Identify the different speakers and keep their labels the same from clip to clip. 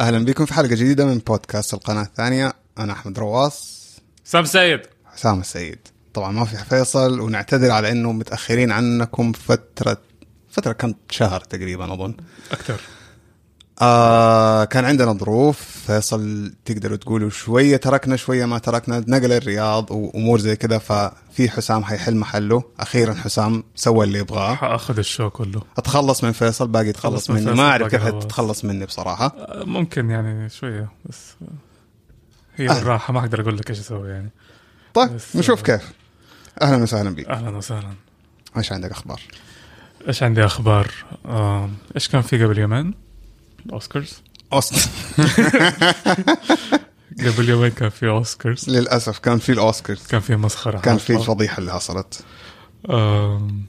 Speaker 1: اهلا بكم في حلقه جديده من بودكاست القناه الثانيه انا احمد رواص
Speaker 2: سام سيد
Speaker 1: حسام السيد طبعا ما في فيصل ونعتذر على انه متاخرين عنكم فتره فتره كم شهر تقريبا اظن
Speaker 2: اكثر
Speaker 1: آه كان عندنا ظروف فيصل تقدروا تقولوا شويه تركنا شويه ما تركنا نقل الرياض وامور زي كذا ففي حسام حيحل محله اخيرا حسام سوى اللي يبغاه
Speaker 2: حاخذ الشو كله
Speaker 1: اتخلص من فيصل باقي يتخلص
Speaker 2: تخلص من
Speaker 1: مني
Speaker 2: فيصل،
Speaker 1: ما اعرف
Speaker 2: باقي
Speaker 1: كيف
Speaker 2: رواس.
Speaker 1: تتخلص مني بصراحه
Speaker 2: آه، ممكن يعني شويه بس آه، هي
Speaker 1: أهلا.
Speaker 2: بالراحه ما اقدر اقول لك ايش اسوي يعني
Speaker 1: طيب
Speaker 2: بس-
Speaker 1: نشوف كيف اهلا وسهلا بك
Speaker 2: اهلا وسهلا
Speaker 1: ايش عندك اخبار
Speaker 2: ايش عندي اخبار آه، ايش كان في قبل يومين اوسكارز
Speaker 1: أوسكار
Speaker 2: قبل يومين كان في اوسكارز
Speaker 1: للاسف كان في الاوسكار
Speaker 2: كان في مسخره
Speaker 1: كان في
Speaker 2: حاصلة.
Speaker 1: الفضيحه اللي حصلت
Speaker 2: آم،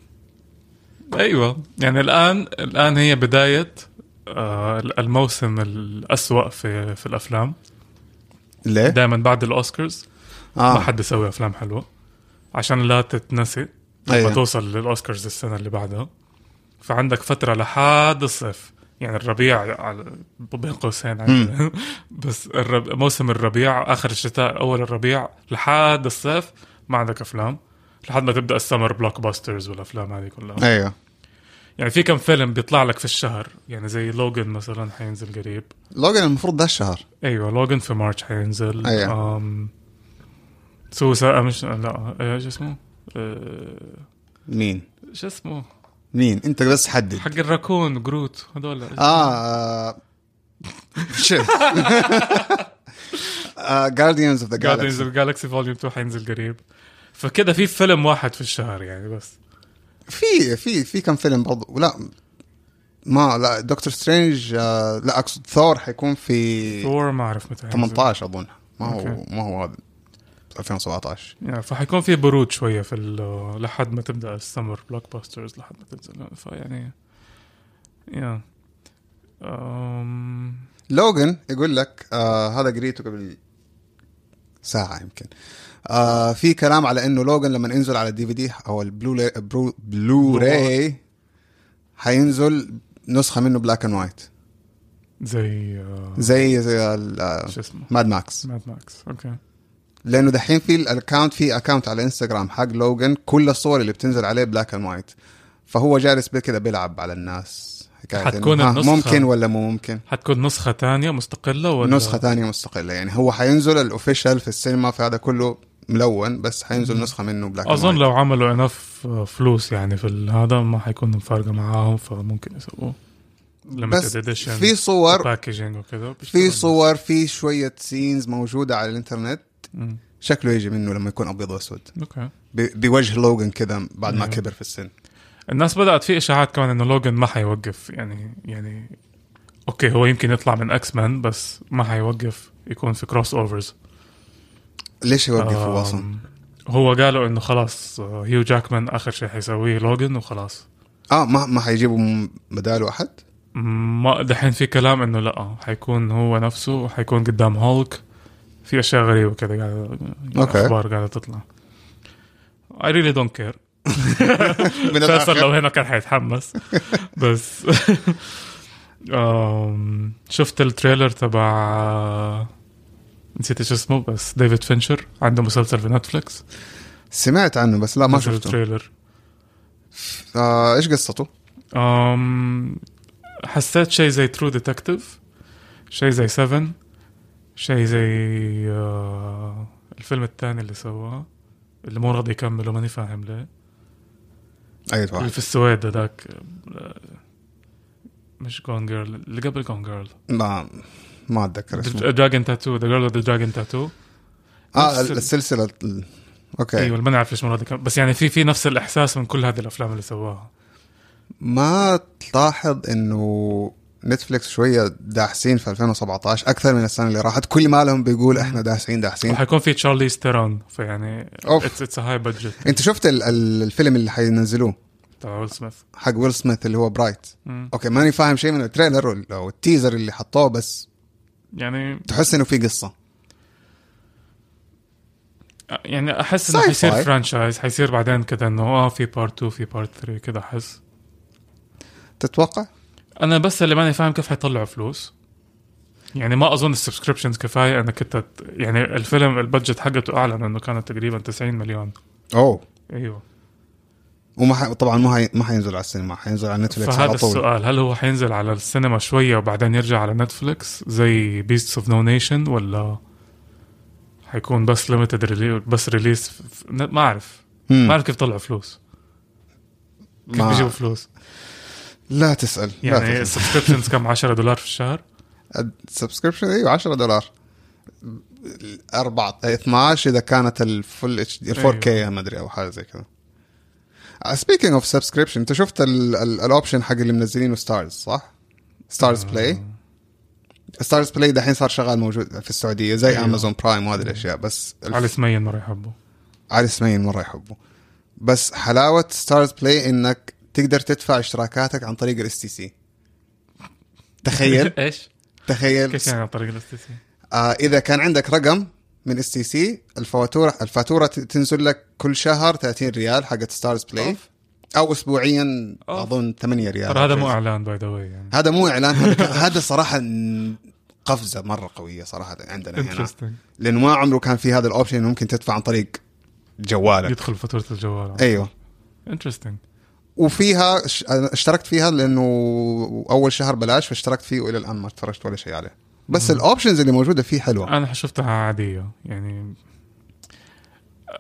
Speaker 2: ايوه يعني الان الان هي بدايه آه، الموسم الأسوأ في في الافلام
Speaker 1: ليه؟
Speaker 2: دائما بعد الاوسكارز ما
Speaker 1: اه
Speaker 2: حد يسوي افلام حلوه عشان لا تتنسي
Speaker 1: أيوة.
Speaker 2: لما توصل للاوسكارز السنه اللي بعدها فعندك فتره لحد الصيف يعني الربيع على بين قوسين عندنا. بس الرب... موسم الربيع اخر الشتاء اول الربيع لحد الصيف ما عندك افلام لحد ما تبدا السمر بلوك باسترز والافلام هذه كلها
Speaker 1: ايوه
Speaker 2: يعني في كم فيلم بيطلع لك في الشهر يعني زي لوجن مثلا حينزل قريب
Speaker 1: لوجان المفروض ده الشهر
Speaker 2: ايوه لوجن في مارش حينزل
Speaker 1: أيوة.
Speaker 2: أم... سوسا آه، مش لا ايش اسمه؟ أه،
Speaker 1: مين؟
Speaker 2: شو اسمه؟
Speaker 1: مين؟ انت بس حدد
Speaker 2: حق الراكون جروت هذول
Speaker 1: اه, آه. شيت آه، جارديانز اوف ذا
Speaker 2: جاردينز
Speaker 1: جالاكسي
Speaker 2: اوف جالكسي فوليوم 2 حينزل قريب فكده في فيلم واحد في الشهر يعني بس
Speaker 1: في في في كم فيلم برضو لا ما لا دكتور سترينج آه لا اقصد ثور حيكون في
Speaker 2: ثور ما اعرف متى حينزل.
Speaker 1: 18 اظن ما هو
Speaker 2: أوكي.
Speaker 1: ما هو هذا 2017
Speaker 2: يعني فحيكون في برود شويه في ال- لحد ما تبدا السمر بلوك باسترز لحد ما تنزل يعني، فيعني يا أم...
Speaker 1: لوغن يقول لك آه هذا قريته قبل ساعة يمكن آه في كلام على انه لوغن لما ينزل على الدي في دي او البلو برو بلو راي حينزل نسخة منه بلاك اند وايت
Speaker 2: زي آه،
Speaker 1: زي آه، زي
Speaker 2: شو اسمه
Speaker 1: ماد ماكس
Speaker 2: ماد ماكس اوكي
Speaker 1: لانه دحين في الاكونت في اكونت على انستغرام حق لوغن كل الصور اللي بتنزل عليه بلاك اند وايت فهو جالس بي- كده بيلعب على الناس حكاية إنه
Speaker 2: حتكون
Speaker 1: ها،
Speaker 2: النسخة-
Speaker 1: ممكن ولا مو ممكن
Speaker 2: حتكون نسخة تانية مستقلة ولا
Speaker 1: نسخة ثانية مستقلة يعني هو حينزل الاوفيشال في السينما في هذا كله ملون بس حينزل نسخة منه بلاك
Speaker 2: أظن
Speaker 1: and white.
Speaker 2: لو عملوا انف فلوس يعني في ال- هذا ما حيكون فارقة معاهم فممكن يسووه
Speaker 1: بس في
Speaker 2: طيب،
Speaker 1: صور
Speaker 2: باكجينج وكذا بيشتغلوا.
Speaker 1: في صور في شوية سينز موجودة على الانترنت
Speaker 2: مم.
Speaker 1: شكله يجي منه لما يكون ابيض واسود
Speaker 2: اوكي
Speaker 1: ب- بوجه لوغان كذا بعد ما
Speaker 2: أيوه.
Speaker 1: كبر في السن
Speaker 2: الناس بدأت في اشاعات كمان انه لوجن ما حيوقف يعني يعني اوكي هو يمكن يطلع من اكس مان بس ما حيوقف يكون في كروس اوفرز
Speaker 1: ليش يوقف هو اصلا؟
Speaker 2: هو قالوا انه خلاص آه، هيو جاكمان اخر شيء حيسويه لوجن وخلاص
Speaker 1: اه ما ما حيجيبوا م- بداله احد؟
Speaker 2: ما دحين في كلام انه لا حيكون هو نفسه وحيكون قدام هولك في اشياء غريبه كذا قاعده
Speaker 1: أوكي.
Speaker 2: اخبار قاعده تطلع I really don't care
Speaker 1: من
Speaker 2: فيصل لو
Speaker 1: الآخر.
Speaker 2: هنا كان حيتحمس بس أم، شفت التريلر تبع نسيت ايش اسمه بس ديفيد فينشر عنده مسلسل في نتفلكس
Speaker 1: سمعت عنه بس لا ما
Speaker 2: نزل
Speaker 1: شفته
Speaker 2: تريلر
Speaker 1: آه ايش قصته؟
Speaker 2: أم Um, حسيت شيء زي ترو ديتكتيف شيء زي 7 شيء زي آه، الفيلم الثاني اللي سواه اللي مو راضي يكمله ماني فاهم ليه
Speaker 1: اي
Speaker 2: اللي
Speaker 1: واحد
Speaker 2: في السويد هذاك آه، مش جون جيرل اللي قبل جون جيرل
Speaker 1: ما ما اتذكر اسمه
Speaker 2: دراجون تاتو ذا جيرل ذا دراجون تاتو
Speaker 1: اه
Speaker 2: نفس ال-
Speaker 1: السلسله ال- اوكي
Speaker 2: ايوه ما نعرف ليش مو راضي يكمل بس يعني في في نفس الاحساس من كل هذه الافلام اللي سواها
Speaker 1: ما تلاحظ انه نتفليكس شويه داحسين في 2017 اكثر من السنه اللي راحت كل ما لهم بيقول احنا داحسين داحسين
Speaker 2: وحيكون في تشارلي ستيرون فيعني
Speaker 1: أوف.
Speaker 2: اتس هاي بادجت
Speaker 1: انت شفت ال- ال- الفيلم اللي حينزلوه
Speaker 2: تبع ويل سميث
Speaker 1: حق ويل سميث اللي هو برايت اوكي ماني فاهم شيء من التريلر وال- او التيزر اللي حطوه بس
Speaker 2: يعني
Speaker 1: تحس انه في قصه
Speaker 2: يعني احس انه
Speaker 1: Sci-fi.
Speaker 2: حيصير فرانشايز حيصير بعدين كده انه اه في بارت 2 في بارت 3 كده احس
Speaker 1: تتوقع
Speaker 2: انا بس اللي ماني فاهم كيف حيطلعوا فلوس يعني ما اظن السبسكريبشنز كفايه انك انت يعني الفيلم البادجت حقته اعلن انه كانت تقريبا 90 مليون
Speaker 1: اوه
Speaker 2: ايوه
Speaker 1: وما ح... طبعا ما هي... ما حينزل على السينما حينزل على نتفلكس
Speaker 2: فهذا
Speaker 1: على طول
Speaker 2: السؤال هل هو حينزل على السينما شويه وبعدين يرجع على نتفليكس زي بيستس اوف نو نيشن ولا حيكون بس ليمتد ريلي بس ريليس ف... ف... ما اعرف
Speaker 1: مم.
Speaker 2: ما اعرف كيف طلعوا فلوس كيف
Speaker 1: ما-
Speaker 2: بيجيبوا فلوس
Speaker 1: لا تسال
Speaker 2: يعني
Speaker 1: لا تسال
Speaker 2: السبسكريبشنز كم 10 دولار في الشهر
Speaker 1: السبسكريبشن ايوه 10 دولار 4 12 اذا كانت الفول اتش دي 4 كي ما ادري او حاجه زي كذا آه، سبيكينج اوف سبسكريبشن انت شفت ال- ال- الاوبشن حق اللي منزلينه ستارز صح؟ ستارز بلاي ستارز بلاي دحين صار شغال موجود في السعوديه زي
Speaker 2: أيوه.
Speaker 1: امازون برايم وهذه الاشياء بس الف-
Speaker 2: علي سمين ما راح يحبه
Speaker 1: علي سمين مره يحبه بس حلاوه ستارز بلاي انك تقدر تدفع اشتراكاتك عن طريق الاس تي سي تخيل
Speaker 2: ايش؟
Speaker 1: تخيل
Speaker 2: كيف يعني عن طريق الاستثناء؟
Speaker 1: آه اذا كان عندك رقم من اس تي سي الفاتوره الفاتوره ت- تنزل لك كل شهر 30 ريال حقت ستارز بلاي
Speaker 2: أوف.
Speaker 1: او اسبوعيا
Speaker 2: أوف.
Speaker 1: اظن 8 ريال
Speaker 2: ترى هذا مو اعلان باي ذا واي يعني
Speaker 1: هذا مو اعلان هذا كان- هذا صراحه ن- قفزه مره قويه صراحه عندنا هنا
Speaker 2: انترستنج
Speaker 1: لانه ما عمره كان في هذا الاوبشن إنه ممكن تدفع عن طريق جوالك
Speaker 2: يدخل فاتوره الجوال
Speaker 1: ايوه
Speaker 2: انترستنج
Speaker 1: وفيها ش- أنا اشتركت فيها لانه اول شهر بلاش فاشتركت فيه والى الان ما اشتركت ولا شيء عليه بس الاوبشنز اللي موجوده فيه حلوه
Speaker 2: انا شفتها عاديه يعني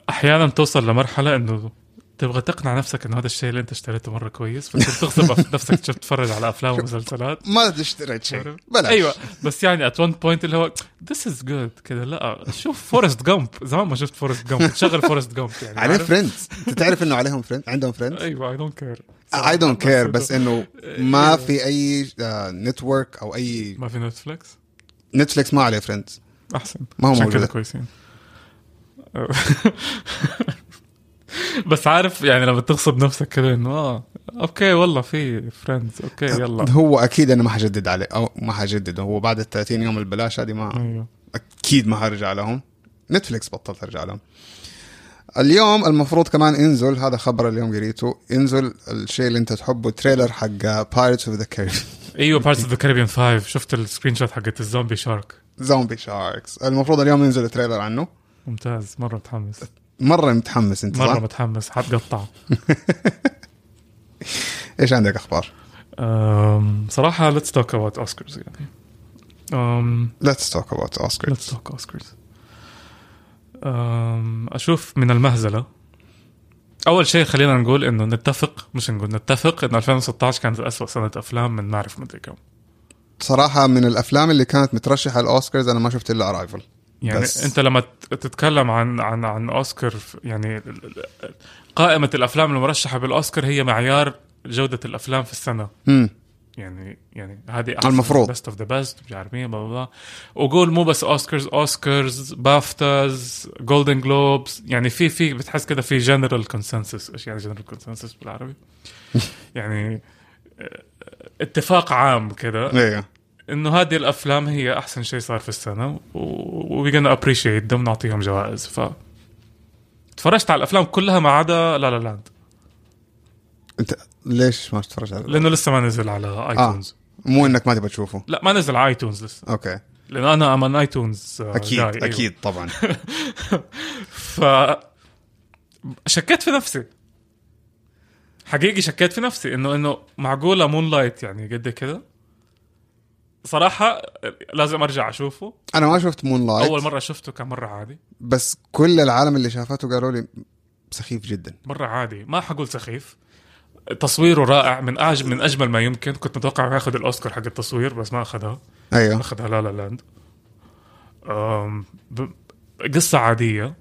Speaker 2: احيانا توصل لمرحله انه تبغى تقنع نفسك انه هذا الشيء اللي انت اشتريته مره كويس فتصير تغصب نفسك تشوف تتفرج على افلام ومسلسلات
Speaker 1: ما اشتريت شيء
Speaker 2: تعرف؟
Speaker 1: بلاش
Speaker 2: ايوه بس يعني ات one بوينت اللي هو ذس از جود كذا لا شوف فورست جامب زمان ما شفت فورست جامب تشغل فورست جامب يعني
Speaker 1: عليه
Speaker 2: عارف؟
Speaker 1: فريندز انت تعرف انه عليهم فريند عندهم فريند
Speaker 2: ايوه اي دونت كير
Speaker 1: اي دونت كير بس انه ما
Speaker 2: أيوة.
Speaker 1: في آه، اي نتورك او اي
Speaker 2: ما في نتفلكس
Speaker 1: نتفلكس ما عليه فريندز
Speaker 2: احسن
Speaker 1: ما هو
Speaker 2: عشان
Speaker 1: موجود.
Speaker 2: كذا كويسين بس عارف يعني لما تغصب نفسك كده انه اه اوكي والله في فريندز اوكي يلا
Speaker 1: هو اكيد انا ما حجدد عليه او ما حجدد هو بعد ال 30 يوم البلاش هذه ما
Speaker 2: ايوه
Speaker 1: اكيد ما هرجع لهم نتفلكس بطلت ارجع لهم اليوم المفروض كمان انزل هذا خبر اليوم قريته انزل الشيء اللي انت تحبه تريلر حق بايرتس اوف ذا كاريبيان
Speaker 2: ايوه بارتس اوف ذا كاريبيان 5 شفت السكرين شوت حقت الزومبي شارك
Speaker 1: زومبي شاركس المفروض اليوم ينزل تريلر عنه
Speaker 2: ممتاز مره متحمس
Speaker 1: مره متحمس انت
Speaker 2: مره
Speaker 1: صح؟
Speaker 2: متحمس حتقطع
Speaker 1: ايش عندك اخبار؟
Speaker 2: أم، صراحه ليتس توك اباوت اوسكارز يعني أم،
Speaker 1: Let's talk about Oscars.
Speaker 2: ليتس توك اوسكارز اشوف من المهزله اول شيء خلينا نقول انه نتفق مش نقول نتفق انه 2016 كانت اسوء سنه افلام من ما اعرف مدري كم
Speaker 1: صراحة من الأفلام اللي كانت مترشحة للأوسكارز أنا ما شفت إلا أرايفل
Speaker 2: يعني
Speaker 1: بس-
Speaker 2: بس. انت لما ت- تتكلم عن عن عن اوسكار ف- يعني ال- ال- قائمه الافلام المرشحه بالاوسكار هي معيار جوده الافلام في السنه
Speaker 1: امم
Speaker 2: يعني يعني هذه
Speaker 1: المفروض.
Speaker 2: بيست اوف ذا بيست مش عارف مين بلا بلا وقول مو بس اوسكارز اوسكارز بافتاز جولدن جلوبز يعني في في بتحس كده في جنرال كونسنسس ايش يعني جنرال كونسنسس بالعربي؟ يعني آه، اتفاق عام كده
Speaker 1: ايوه
Speaker 2: انه هذه الافلام هي احسن شيء صار في السنه وي جونا ابريشيت ذم نعطيهم جوائز ف تفرجت على الافلام كلها ما عدا لا لا لاند
Speaker 1: أنت ليش ما تتفرج على
Speaker 2: لانه لسه ما نزل على ايتونز آه.
Speaker 1: مو إنك ما تبغى تشوفه
Speaker 2: لا ما نزل على ايتونز لسه
Speaker 1: أوكي
Speaker 2: لانه انا ام ان ايتونز
Speaker 1: أكيد
Speaker 2: إيه.
Speaker 1: أكيد طبعا
Speaker 2: أيوة. ف شكيت في نفسي حقيقي شكيت في نفسي انه انه معقوله مون لايت يعني قد كده صراحه لازم ارجع اشوفه
Speaker 1: أنا ما شفت مون
Speaker 2: اول
Speaker 1: لايت
Speaker 2: مره شفته كان مره عادي
Speaker 1: بس كل العالم اللي شافته قالوا لي سخيف جدا
Speaker 2: مره عادي ما حقول سخيف تصويره رائع من اعجب من اجمل ما يمكن كنت متوقع ياخذ الاوسكار حق التصوير بس ما اخذها
Speaker 1: أيوه
Speaker 2: اخذها لا لا لاند أم، ب- قصه عاديه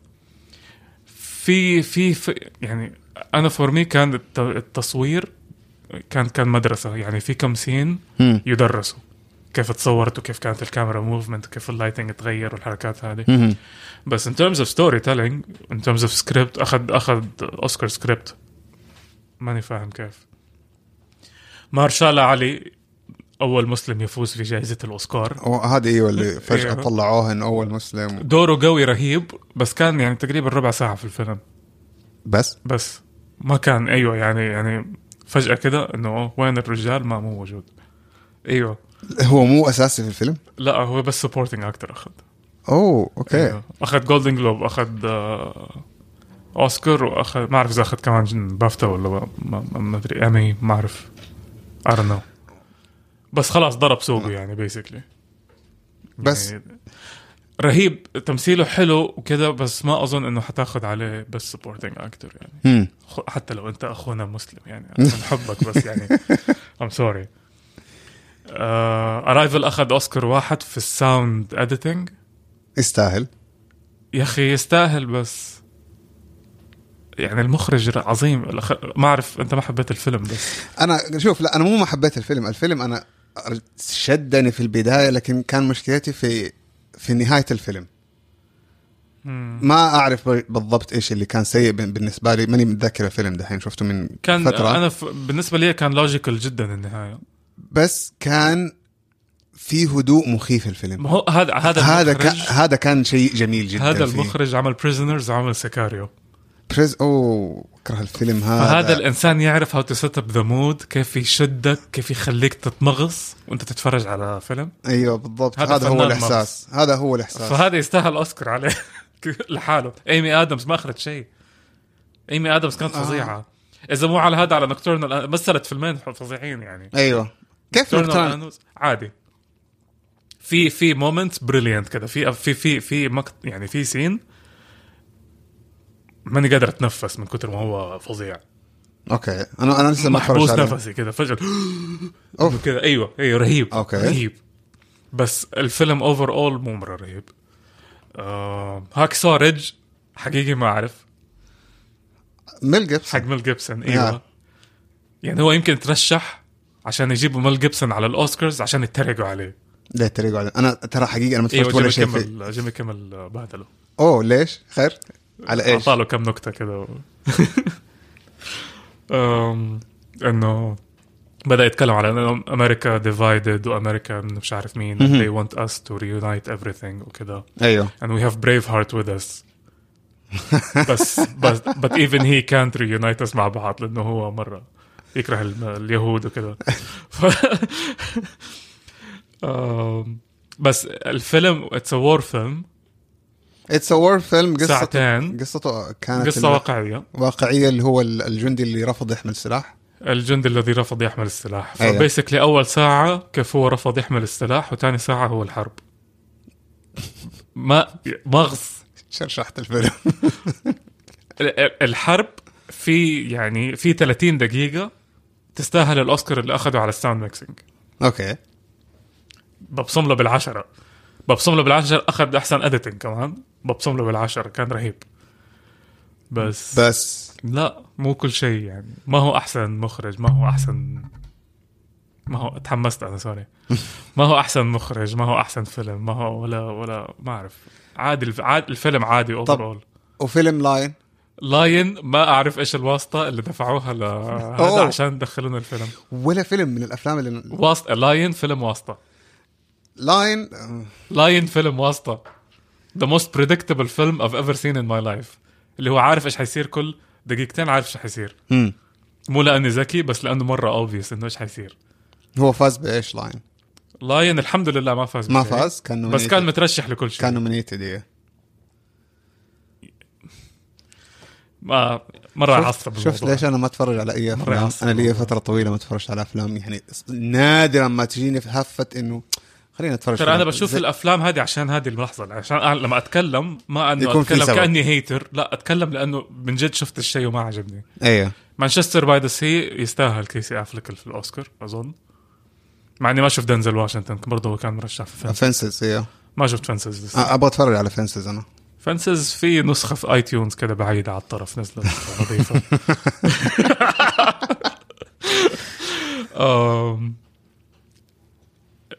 Speaker 2: في في في- يعني انا فور مي كان الت- التصوير كان كان مدرسه يعني في كم سين
Speaker 1: مم.
Speaker 2: يدرسوا كيف تصورت وكيف كانت الكاميرا موفمنت وكيف اللايتنج تغير والحركات هذه
Speaker 1: مم.
Speaker 2: بس in terms of storytelling in terms of script اخذ اخذ اوسكار سكريبت ماني فاهم كيف مارشال علي اول مسلم يفوز في جائزه الاوسكار
Speaker 1: وهذه أيوه اللي فجأة
Speaker 2: أيوه.
Speaker 1: طلعوها إنه أول مسلم
Speaker 2: دوره قوي رهيب بس كان يعني تقريبا ربع ساعه في الفيلم
Speaker 1: بس
Speaker 2: بس ما كان أيوة، ايوه يعني يعني فجاه كده انه وين الرجال ما مو موجود ايوه
Speaker 1: هو مو اساسي في الفيلم
Speaker 2: لا هو بس سبورتنج اكتر اخذ
Speaker 1: اوه اوكي
Speaker 2: اخذ جولدن جلوب اخذ آه، اوسكار واخذ ما اعرف اذا اخذ كمان بافتا ولا ب- ما ما- ما ادري امي ما اعرف I don't know بس خلاص ضرب سوقه يعني بيسكلي
Speaker 1: بس
Speaker 2: يعني رهيب تمثيله حلو وكذا بس ما اظن انه حتاخذ عليه بس سبورتنج اكتر يعني
Speaker 1: مم.
Speaker 2: خ- حتى لو انت اخونا مسلم يعني من حبك بس يعني ام سوري ارايفل اخذ اوسكار واحد في الساوند اديتنج
Speaker 1: يستاهل
Speaker 2: يا اخي يستاهل بس يعني المخرج عظيم الأخ- ما اعرف انت ما حبيت الفيلم بس
Speaker 1: انا شوف لا انا مو ما حبيت الفيلم الفيلم انا شدني في البدايه لكن كان مشكلتي في في نهايه الفيلم ما اعرف بالضبط ايش اللي كان سيء بن- بالنسبه لي ماني متذكر الفيلم دحين شفته من
Speaker 2: كان
Speaker 1: فتره
Speaker 2: فترة. انا ف... بالنسبه لي كان لوجيكال جدا النهايه
Speaker 1: بس كان في هدوء مخيف الفيلم
Speaker 2: ما هو هذا هذا
Speaker 1: هذا كان
Speaker 2: المخرج
Speaker 1: هذا كان شيء جميل جدا
Speaker 2: هذا
Speaker 1: فيه.
Speaker 2: المخرج عمل بريزنرز وعمل سكاريو
Speaker 1: بريز اوه اكره الفيلم هذا
Speaker 2: فهذا الانسان يعرف هاو تو سيت اب ذا مود كيف يشدك كيف يخليك تتمغص وانت تتفرج على فيلم
Speaker 1: ايوه بالضبط
Speaker 2: هذا
Speaker 1: هذا, هو
Speaker 2: فنان
Speaker 1: الاحساس هذا هو الاحساس
Speaker 2: فهذا يستاهل اوسكار عليه لحاله ايمي ادمز ما اخذت شيء ايمي ادمز كانت
Speaker 1: آه.
Speaker 2: فظيعه اذا مو على هذا على نكتورنال مثلت فيلمين فظيعين يعني
Speaker 1: ايوه كيف
Speaker 2: نكتورنال
Speaker 1: نكترن
Speaker 2: انوس عادي في في مومنت بريليانت كذا في في في في مقت يعني في سين ماني قادر اتنفس من كتر ما هو فظيع
Speaker 1: اوكي انا انا لسه ما
Speaker 2: محبوس
Speaker 1: اتفرجت عليه
Speaker 2: نفسي كذا فجاه
Speaker 1: أوف.
Speaker 2: كذا ايوه ايوه رهيب
Speaker 1: أوكي.
Speaker 2: رهيب بس الفيلم اوفر اول مو مره رهيب آه هاك سورج حقيقي ما اعرف
Speaker 1: ميل جيبسون
Speaker 2: حق ميل جيبسون ايوه
Speaker 1: آه.
Speaker 2: يعني هو يمكن ترشح عشان يجيبوا ميل جيبسون على الاوسكارز عشان يتريقوا عليه
Speaker 1: لا تريقوا عليه انا ترى حقيقه انا ما
Speaker 2: ايوه
Speaker 1: اتفرجت
Speaker 2: جيمي
Speaker 1: ولا شيء فيه
Speaker 2: كيمل جيمي كيمل بهدله
Speaker 1: اوه ليش خير على ايش
Speaker 2: اعطاله كم نكته كده و... أم، انه بدا يتكلم على انه امريكا ديفايدد وامريكا مش عارف مين they want us to reunite everything وكده
Speaker 1: ايوه
Speaker 2: and we have Braveheart with us بس بس but even he can't reunite us مع بعض لانه هو مره يكره الم- اليهود وكذا ف... أم، بس الفيلم اتس وور فيلم
Speaker 1: اتس ا وور فيلم قصته
Speaker 2: ساعتين.
Speaker 1: قصته كانت
Speaker 2: قصه
Speaker 1: قصة
Speaker 2: واقعيه
Speaker 1: واقعيه اللي هو ال- الجندي اللي رفض يحمل سلاح
Speaker 2: الجندي الذي رفض يحمل السلاح
Speaker 1: أيوة.
Speaker 2: فبيسكلي اول ساعه كيف هو رفض يحمل السلاح وثاني ساعه هو الحرب ما مغص
Speaker 1: شرشحت الفيلم
Speaker 2: ال- ال- الحرب في يعني في 30 دقيقه تستاهل الاوسكار اللي اخذه على الساوند ميكسينج
Speaker 1: اوكي
Speaker 2: ببصم له بالعشره ببصم له بالعشره اخذ احسن اديتنج كمان ببصم له بالعشره كان رهيب بس
Speaker 1: بس
Speaker 2: لا مو كل شيء يعني ما هو احسن مخرج ما هو احسن ما هو تحمست انا سوري ما هو احسن مخرج ما هو احسن فيلم ما هو ولا ولا ما اعرف عادي الف... عاد الفيلم عادي
Speaker 1: طب.
Speaker 2: اوفرول
Speaker 1: وفيلم لاين
Speaker 2: لاين ما اعرف ايش الواسطه اللي دفعوها لهذا
Speaker 1: أوه.
Speaker 2: عشان دخلونا الفيلم
Speaker 1: ولا فيلم من الافلام اللي
Speaker 2: واسطه لاين فيلم واسطه
Speaker 1: لاين
Speaker 2: لاين فيلم واسطه ذا موست بريدكتبل فيلم I've ever seen in my life اللي هو عارف ايش حيصير كل دقيقتين عارف ايش حيصير
Speaker 1: مم.
Speaker 2: مو لاني ذكي بس لانه مره obvious انه ايش حيصير
Speaker 1: هو فاز بايش لاين
Speaker 2: لاين الحمد لله ما فاز
Speaker 1: ما
Speaker 2: بشيء.
Speaker 1: فاز كان
Speaker 2: بس
Speaker 1: nominated.
Speaker 2: كان مترشح لكل شيء
Speaker 1: كان
Speaker 2: كان
Speaker 1: نومينيتد ايه
Speaker 2: ما مره عصب
Speaker 1: شفت ليش انا ما اتفرج على اي افلام
Speaker 2: يعصب
Speaker 1: انا لي
Speaker 2: الموضوع.
Speaker 1: فتره طويله ما اتفرجت على افلام يعني نادرا ما تجيني في هفه انه خلينا نتفرج
Speaker 2: ترى
Speaker 1: على-
Speaker 2: انا بشوف
Speaker 1: زي-
Speaker 2: الافلام هذه عشان هذه اللحظه عشان أنا لما اتكلم ما انه
Speaker 1: يكون في
Speaker 2: اتكلم
Speaker 1: سبب.
Speaker 2: كاني هيتر لا اتكلم لانه من جد شفت الشيء وما عجبني
Speaker 1: ايوه
Speaker 2: مانشستر باي ذا سي يستاهل كيسي افليك في الاوسكار اظن مع اني ما شفت دنزل واشنطن برضه هو كان مرشح في فيلم
Speaker 1: فنسز ايوه
Speaker 2: ما شفت فنسز لسه
Speaker 1: آه، ابغى اتفرج على فنسز انا
Speaker 2: فنسز في نسخه في اي تيونز كده بعيده على الطرف نزلت نظيفه أم،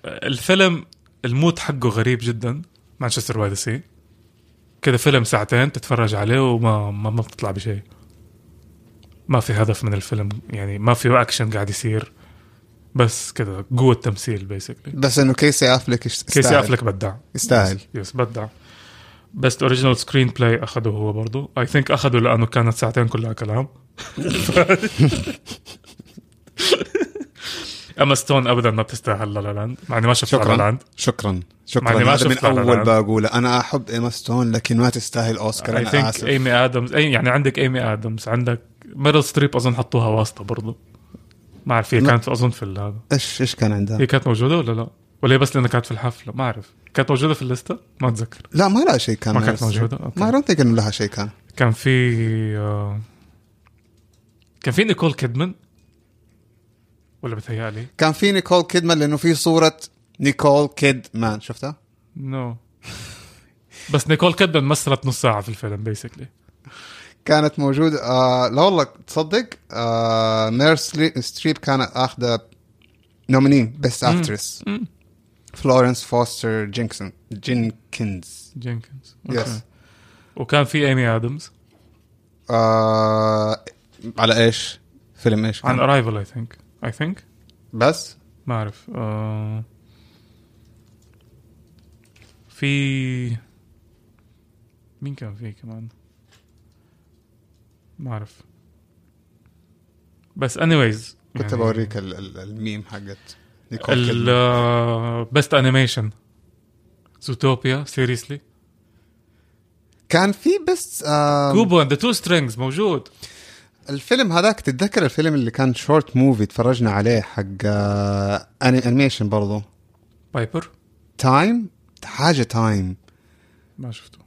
Speaker 2: الفيلم المود حقه غريب جدا مانشستر باي ذا سي كده فيلم ساعتين تتفرج عليه وما ما, ما بتطلع بشيء ما في هدف من الفيلم يعني ما في اكشن قاعد يصير بس كده قوه تمثيل بيسكلي
Speaker 1: بس انه كيسي افلك يست-
Speaker 2: كيسي
Speaker 1: يستاهل.
Speaker 2: افلك بدع
Speaker 1: يستاهل
Speaker 2: يس بدع بست اوريجينال سكرين بلاي اخذه هو برضه اي ثينك اخذه لانه كانت ساعتين كلها كلام اما ستون ابدا ما بتستاهل لا لا لاند مع اني ما شفت لا لا
Speaker 1: شكرا
Speaker 2: لاند
Speaker 1: شكرا
Speaker 2: مع
Speaker 1: شكرا
Speaker 2: إني ما
Speaker 1: هذا من
Speaker 2: شفت لا لا
Speaker 1: اول
Speaker 2: لاند.
Speaker 1: بقوله انا احب ايما ستون لكن ما تستاهل اوسكار
Speaker 2: اي
Speaker 1: انا
Speaker 2: ثينك
Speaker 1: اسف
Speaker 2: ايمي ادمز أي يعني عندك ايمي ادمز عندك ميرل ستريب اظن حطوها واسطه برضو ما اعرف هي
Speaker 1: لا.
Speaker 2: كانت اظن في ال- هذا
Speaker 1: ايش ايش كان عندها؟
Speaker 2: هي كانت موجوده ولا لا؟ ولا هي بس لانها كانت في الحفله ما اعرف كانت موجوده في الليسته ما اتذكر
Speaker 1: لا ما لها شيء كان
Speaker 2: ما
Speaker 1: من
Speaker 2: كانت
Speaker 1: الستريم.
Speaker 2: موجودة؟ أوكي.
Speaker 1: ما دونت ثينك انه لها شيء كان
Speaker 2: كان في آه، كان في نيكول كيدمان ولا بتهيألي؟
Speaker 1: كان في نيكول كيدمان لانه في صوره نيكول كيدمان شفتها؟
Speaker 2: نو بس نيكول كيدمان مثلت نص ساعه في الفيلم بيسكلي
Speaker 1: كانت موجوده آه لا والله تصدق آه مير سلي- ستريب كانت اخذه نوميني بيست اكترس
Speaker 2: مم.
Speaker 1: فلورنس فوستر جينكسون جينكنز
Speaker 2: جينكنز
Speaker 1: يس
Speaker 2: وكان في ايمي ادمز
Speaker 1: آه على ايش؟ فيلم ايش؟
Speaker 2: عن
Speaker 1: كان؟
Speaker 2: ارايفل اي ثينك اي ثينك
Speaker 1: بس؟
Speaker 2: ما اعرف آه، في مين كان فيه كمان ما اعرف بس anyways
Speaker 1: كنت يعني بوريك ال- ال- الميم حقت نيكول كيدمان
Speaker 2: البست انيميشن زوتوبيا سيريسلي
Speaker 1: كان في بس آه
Speaker 2: كوبو اند ذا تو سترينجز موجود
Speaker 1: الفيلم هذاك تتذكر الفيلم اللي كان شورت موفي تفرجنا عليه حق آه، أني- انيميشن برضو
Speaker 2: بايبر
Speaker 1: تايم حاجه تايم
Speaker 2: ما شفته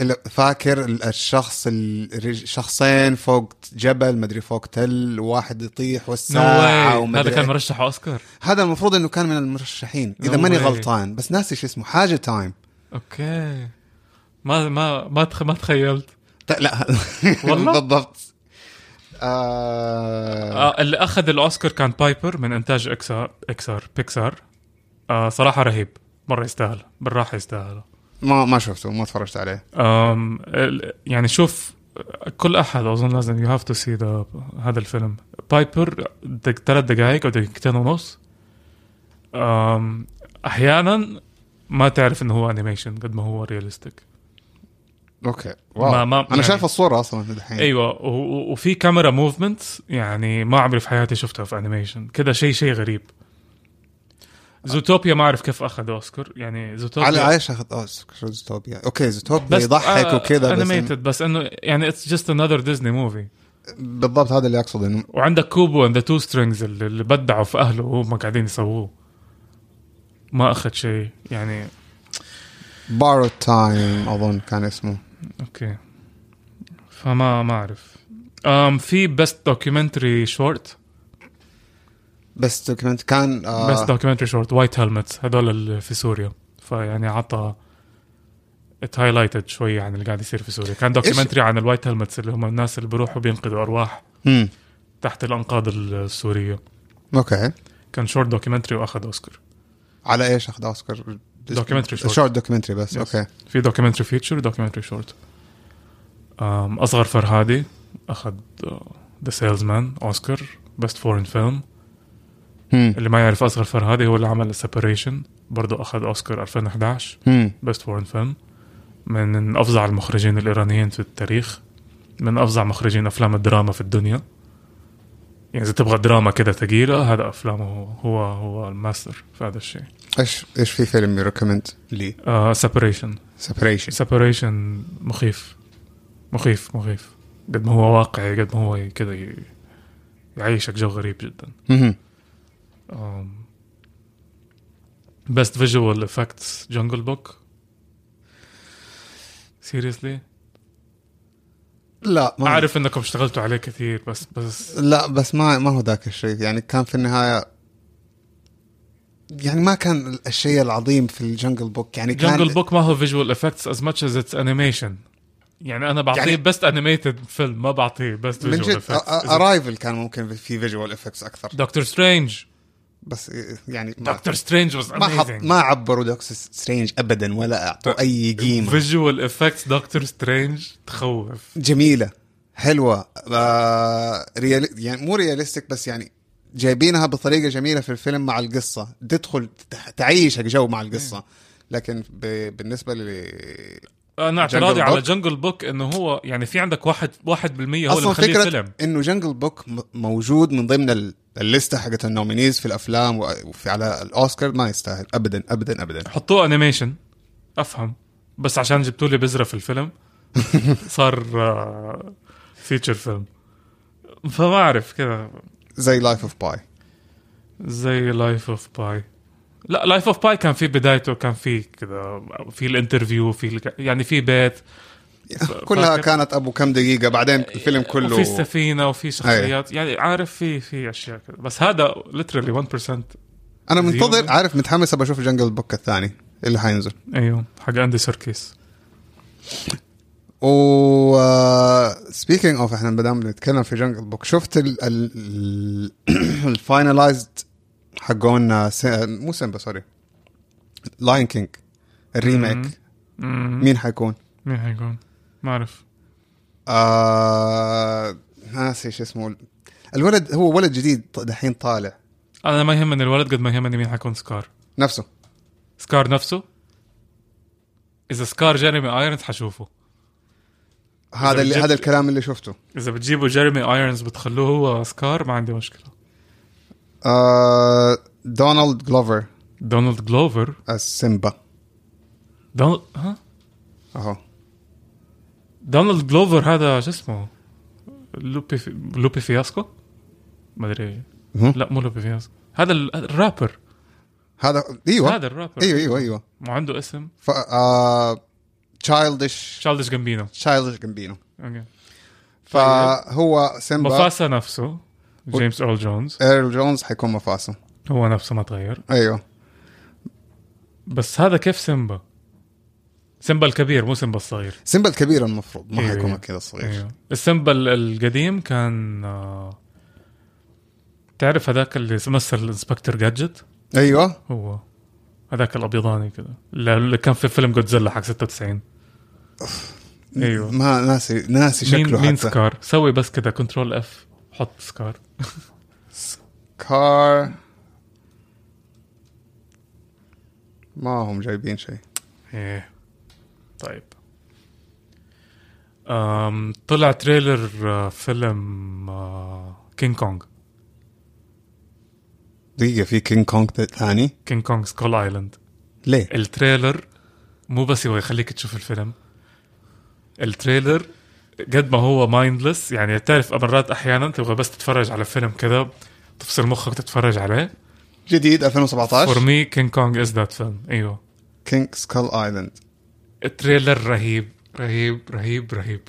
Speaker 1: اللي فاكر ال- الشخص ال- الرج- شخصين فوق جبل مدري فوق تل واحد يطيح
Speaker 2: نو
Speaker 1: والساعه
Speaker 2: no way.
Speaker 1: ومدري
Speaker 2: هذا كان
Speaker 1: إيه.
Speaker 2: مرشح اوسكار
Speaker 1: هذا المفروض انه كان من المرشحين اذا
Speaker 2: No
Speaker 1: ماني
Speaker 2: way.
Speaker 1: غلطان بس ناسي شو اسمه حاجه تايم
Speaker 2: اوكي ما ما ما تخ... ما تخيلت
Speaker 1: ت- لا
Speaker 2: والله؟
Speaker 1: بالضبط آه...
Speaker 2: آه اللي اخذ الاوسكار كان بايبر من انتاج اكسار اكسار بيكسار آه صراحه رهيب مره يستاهل بالراحه يستاهل
Speaker 1: ما ما شفته ما تفرجت عليه
Speaker 2: أم ال- يعني شوف كل احد اظن لازم يو هاف تو سي هذا الفيلم بايبر دق- ثلاث دقائق او دقيقتين ونص أم احيانا ما تعرف انه هو انيميشن قد ما هو رياليستيك
Speaker 1: اوكي واو
Speaker 2: ما- ما-
Speaker 1: انا
Speaker 2: يعني-
Speaker 1: شايف الصوره اصلا الحين
Speaker 2: ايوه و- و- وفي كاميرا موفمنت يعني ما عمري في حياتي شفتها في انيميشن كده شيء شيء غريب زوتوبيا ما اعرف كيف اخذ اوسكار يعني زوتوبيا
Speaker 1: على عايش اخذ اه زوتوبيا اوكي زوتوبيا
Speaker 2: بس آه،
Speaker 1: يضحك وكذا بس إن-
Speaker 2: انيميتد بس انه يعني اتس جاست انذر ديزني موفي
Speaker 1: بالضبط هذا اللي اقصده انه
Speaker 2: وعندك كوبو اند ذا تو سترينجز اللي اللي بدعوا في اهله وهم قاعدين يسووه ما اخذ شيء يعني
Speaker 1: بارو تايم اظن كان اسمه
Speaker 2: اوكي فما ما اعرف أم في بيست دوكيومنتري شورت
Speaker 1: بس دوكيمنت كان آه
Speaker 2: بيست دوكيومنتري شورت وايت هيلمتس هذول اللي في سوريا فيعني عطى ات هايلايتد شويه عن اللي قاعد يصير في سوريا كان دوكيومنتري عن الوايت هيلمتس اللي هم الناس اللي بيروحوا بينقذوا ارواح
Speaker 1: مم.
Speaker 2: تحت الانقاض السوريه
Speaker 1: اوكي
Speaker 2: كان شورت دوكيومنتري واخذ اوسكار
Speaker 1: على ايش اخذ اوسكار
Speaker 2: دوكيومنتري شورت.
Speaker 1: شورت دوكيومنتري بس
Speaker 2: Yes.
Speaker 1: اوكي
Speaker 2: في دوكيومنتري فيتشر ودوكيومنتري شورت أم، اصغر فرهادي آه، اخذ ذا سيلز مان اوسكار بيست فورن فيلم
Speaker 1: مم.
Speaker 2: اللي ما يعرف اصغر فرهادي هو اللي عمل سيبريشن برضه اخذ اوسكار 2011
Speaker 1: مم.
Speaker 2: بيست فورن فيلم من افظع المخرجين الايرانيين في التاريخ من افظع مخرجين افلام الدراما في الدنيا يعني اذا تبغى دراما كده ثقيله هذا افلامه هو هو, هو الماستر في هذا الشيء آه،
Speaker 1: ايش ايش في فيلم ريكومند لي
Speaker 2: سيبريشن
Speaker 1: سيبريشن
Speaker 2: سيبريشن مخيف مخيف مخيف قد ما هو واقعي قد ما هو كذا ي- يعيشك جو غريب جدا بيست فيجوال افكتس جنجل بوك سيريسلي
Speaker 1: لا ما
Speaker 2: اعرف انكم اشتغلتوا عليه كثير بس بس
Speaker 1: لا بس ما ما هو ذاك الشيء يعني كان في النهايه يعني ما كان الشيء العظيم في الجنجل بوك يعني كان
Speaker 2: جنجل بوك ما هو فيجوال افكتس از ماتش از اتس انيميشن يعني انا بعطيه
Speaker 1: يعني-
Speaker 2: بيست انيميتد فيلم ما بعطيه بيست
Speaker 1: من
Speaker 2: فيجوال
Speaker 1: جد
Speaker 2: افكتس
Speaker 1: ارايفل كان ممكن في فيجوال افكتس اكثر
Speaker 2: دكتور سترينج
Speaker 1: بس يعني ما
Speaker 2: دكتور سترينج واز
Speaker 1: ما حط ما عبروا دوكس سترينج ابدا ولا اعطوا اي قيمه
Speaker 2: فيجوال افكتس دكتور سترينج تخوف
Speaker 1: جميله حلوه آه ريال يعني مو رياليستيك بس يعني جايبينها بطريقه جميله في الفيلم مع القصه تدخل تح- تعيشك جو مع القصه لكن ب... بالنسبه ل
Speaker 2: انا اعتراضي
Speaker 1: Jungle
Speaker 2: على
Speaker 1: Book؟
Speaker 2: جنجل بوك انه هو يعني في عندك واحد واحد بالمية هو اللي
Speaker 1: اصلا
Speaker 2: مخليه
Speaker 1: فكره
Speaker 2: فيلم
Speaker 1: انه جنجل بوك م- موجود من ضمن ال- الليسته حقت النومينيز في الافلام و- وفي على الاوسكار ما يستاهل ابدا ابدا ابدا
Speaker 2: حطوه انيميشن افهم بس عشان جبتوا لي بذره في الفيلم صار فيتشر فيلم فما اعرف كذا
Speaker 1: زي لايف اوف باي
Speaker 2: زي لايف اوف باي لا لايف اوف باي كان في بدايته كان في كذا في الانترفيو في الك- يعني في بيت
Speaker 1: كلها
Speaker 2: فاكر؟ إيه،
Speaker 1: كانت ابو كم دقيقه بعدين الفيلم
Speaker 2: وفي
Speaker 1: كله أيوة.
Speaker 2: السفينه وفي شخصيات يعني عارف في في اشياء كذا بس هذا ليترلي 1%
Speaker 1: انا منتظر عارف متحمس ابى اشوف جنجل بوك الثاني اللي حينزل
Speaker 2: ايوه حق اندي سيركيس
Speaker 1: و سبيكينج اوف احنا بدام نتكلم في جنجل بوك شفت ال ال الفاينلايزد حقون آه، س- مو سيمبا سوري لاين كينج
Speaker 2: مم.
Speaker 1: الريميك
Speaker 2: مم.
Speaker 1: مين حيكون؟
Speaker 2: مين حيكون؟ ما اعرف
Speaker 1: آه ناسي شو اسمه الولد هو ولد جديد ط- دحين طالع
Speaker 2: انا ما يهمني الولد قد ما يهمني مين حيكون سكار
Speaker 1: نفسه
Speaker 2: سكار نفسه اذا سكار جيريمي ايرونز حشوفه
Speaker 1: هذا اللي
Speaker 2: جد-
Speaker 1: هذا الكلام اللي شفته
Speaker 2: اذا بتجيبوا جيريمي ايرونز بتخلوه هو سكار ما عندي مشكله
Speaker 1: آه دونالد جلوفر
Speaker 2: دونالد جلوفر
Speaker 1: السيمبا
Speaker 2: دونالد ها
Speaker 1: اهو
Speaker 2: دونالد جلوفر هذا شو اسمه لوبي في... لوبي فياسكو ما ادري
Speaker 1: مهم.
Speaker 2: لا مو لوبي فياسكو هذا ال- الرابر
Speaker 1: هذا ايوه
Speaker 2: هذا الرابر
Speaker 1: ايوه ايوه ايوه
Speaker 2: وعنده اسم
Speaker 1: ف آه تشايلدش
Speaker 2: تشالدش جامبينو
Speaker 1: تشايلدش جامبينو
Speaker 2: اوكي طيب.
Speaker 1: فهو سيمبا
Speaker 2: مفاسا نفسه جيمس ايرل جونز
Speaker 1: ايرل جونز حيكون مفاصل
Speaker 2: هو نفسه ما تغير
Speaker 1: ايوه
Speaker 2: بس هذا كيف سيمبا سيمبا الكبير مو سيمبا الصغير
Speaker 1: سيمبا الكبير المفروض ما
Speaker 2: أيوة،
Speaker 1: حيكون
Speaker 2: أيوة.
Speaker 1: كذا صغير
Speaker 2: ايوه السيمبا ال- القديم كان آه، تعرف هذاك اللي مثل الانسبكتور جادجت
Speaker 1: ايوه
Speaker 2: هو هذاك الابيضاني كذا اللي كان في فيلم جودزيلا حق 96 ايوه
Speaker 1: ما ناسي ناسي شكله
Speaker 2: مين مين
Speaker 1: حتى
Speaker 2: سكار سوي بس كذا كنترول اف حط سكار
Speaker 1: كار ما هم جايبين شيء
Speaker 2: ايه طيب أم طلع تريلر آه، فيلم آه، كينج كونج
Speaker 1: دقيقة في كينج كونج ثاني
Speaker 2: كينج كونج سكول ايلاند
Speaker 1: ليه؟
Speaker 2: التريلر مو بس هو يخليك تشوف الفيلم التريلر قد ما هو مايندلس يعني تعرف مرات احيانا تبغى بس تتفرج على فيلم كذا تفصل مخك تتفرج عليه
Speaker 1: جديد
Speaker 2: فور
Speaker 1: 2017
Speaker 2: مي كينج كونج از ذات فيلم ايوه
Speaker 1: كينج سكال ايلاند
Speaker 2: التريلر رهيب رهيب رهيب رهيب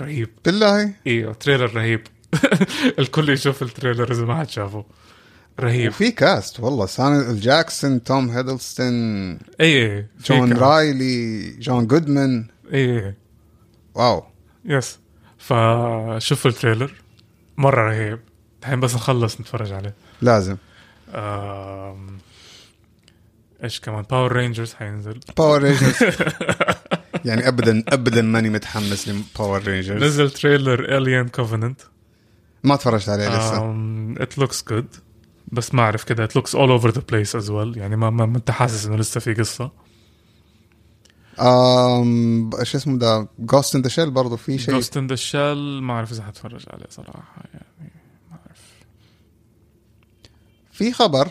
Speaker 2: رهيب
Speaker 1: بالله
Speaker 2: ايوه تريلر رهيب الكل يشوف التريلر اذا ما حد شافه رهيب
Speaker 1: وفي كاست والله سامي جاكسون توم هيدلستون
Speaker 2: اي اي في
Speaker 1: جون
Speaker 2: كا-
Speaker 1: رايلي جون جودمان
Speaker 2: اي اي
Speaker 1: واو
Speaker 2: يس إيه. فشوفوا التريلر مره رهيب الحين بس نخلص نتفرج عليه
Speaker 1: لازم
Speaker 2: آم، ايش كمان باور رينجرز حينزل
Speaker 1: باور رينجرز يعني ابدا ابدا ماني متحمس لباور رينجرز
Speaker 2: نزل تريلر الين كوفننت
Speaker 1: ما تفرجت عليه
Speaker 2: آه.
Speaker 1: لسه
Speaker 2: ات لوكس جود بس ما اعرف كده ات لوكس اول اوفر ذا بليس از ويل يعني ما ما ما انت حاسس انه لسه في قصه
Speaker 1: أم... شو اسمه ده جوست ان ذا شيل برضه في شيء
Speaker 2: جوست ان ذا شيل ما اعرف اذا حتفرج عليه صراحه يعني ما اعرف
Speaker 1: في خبر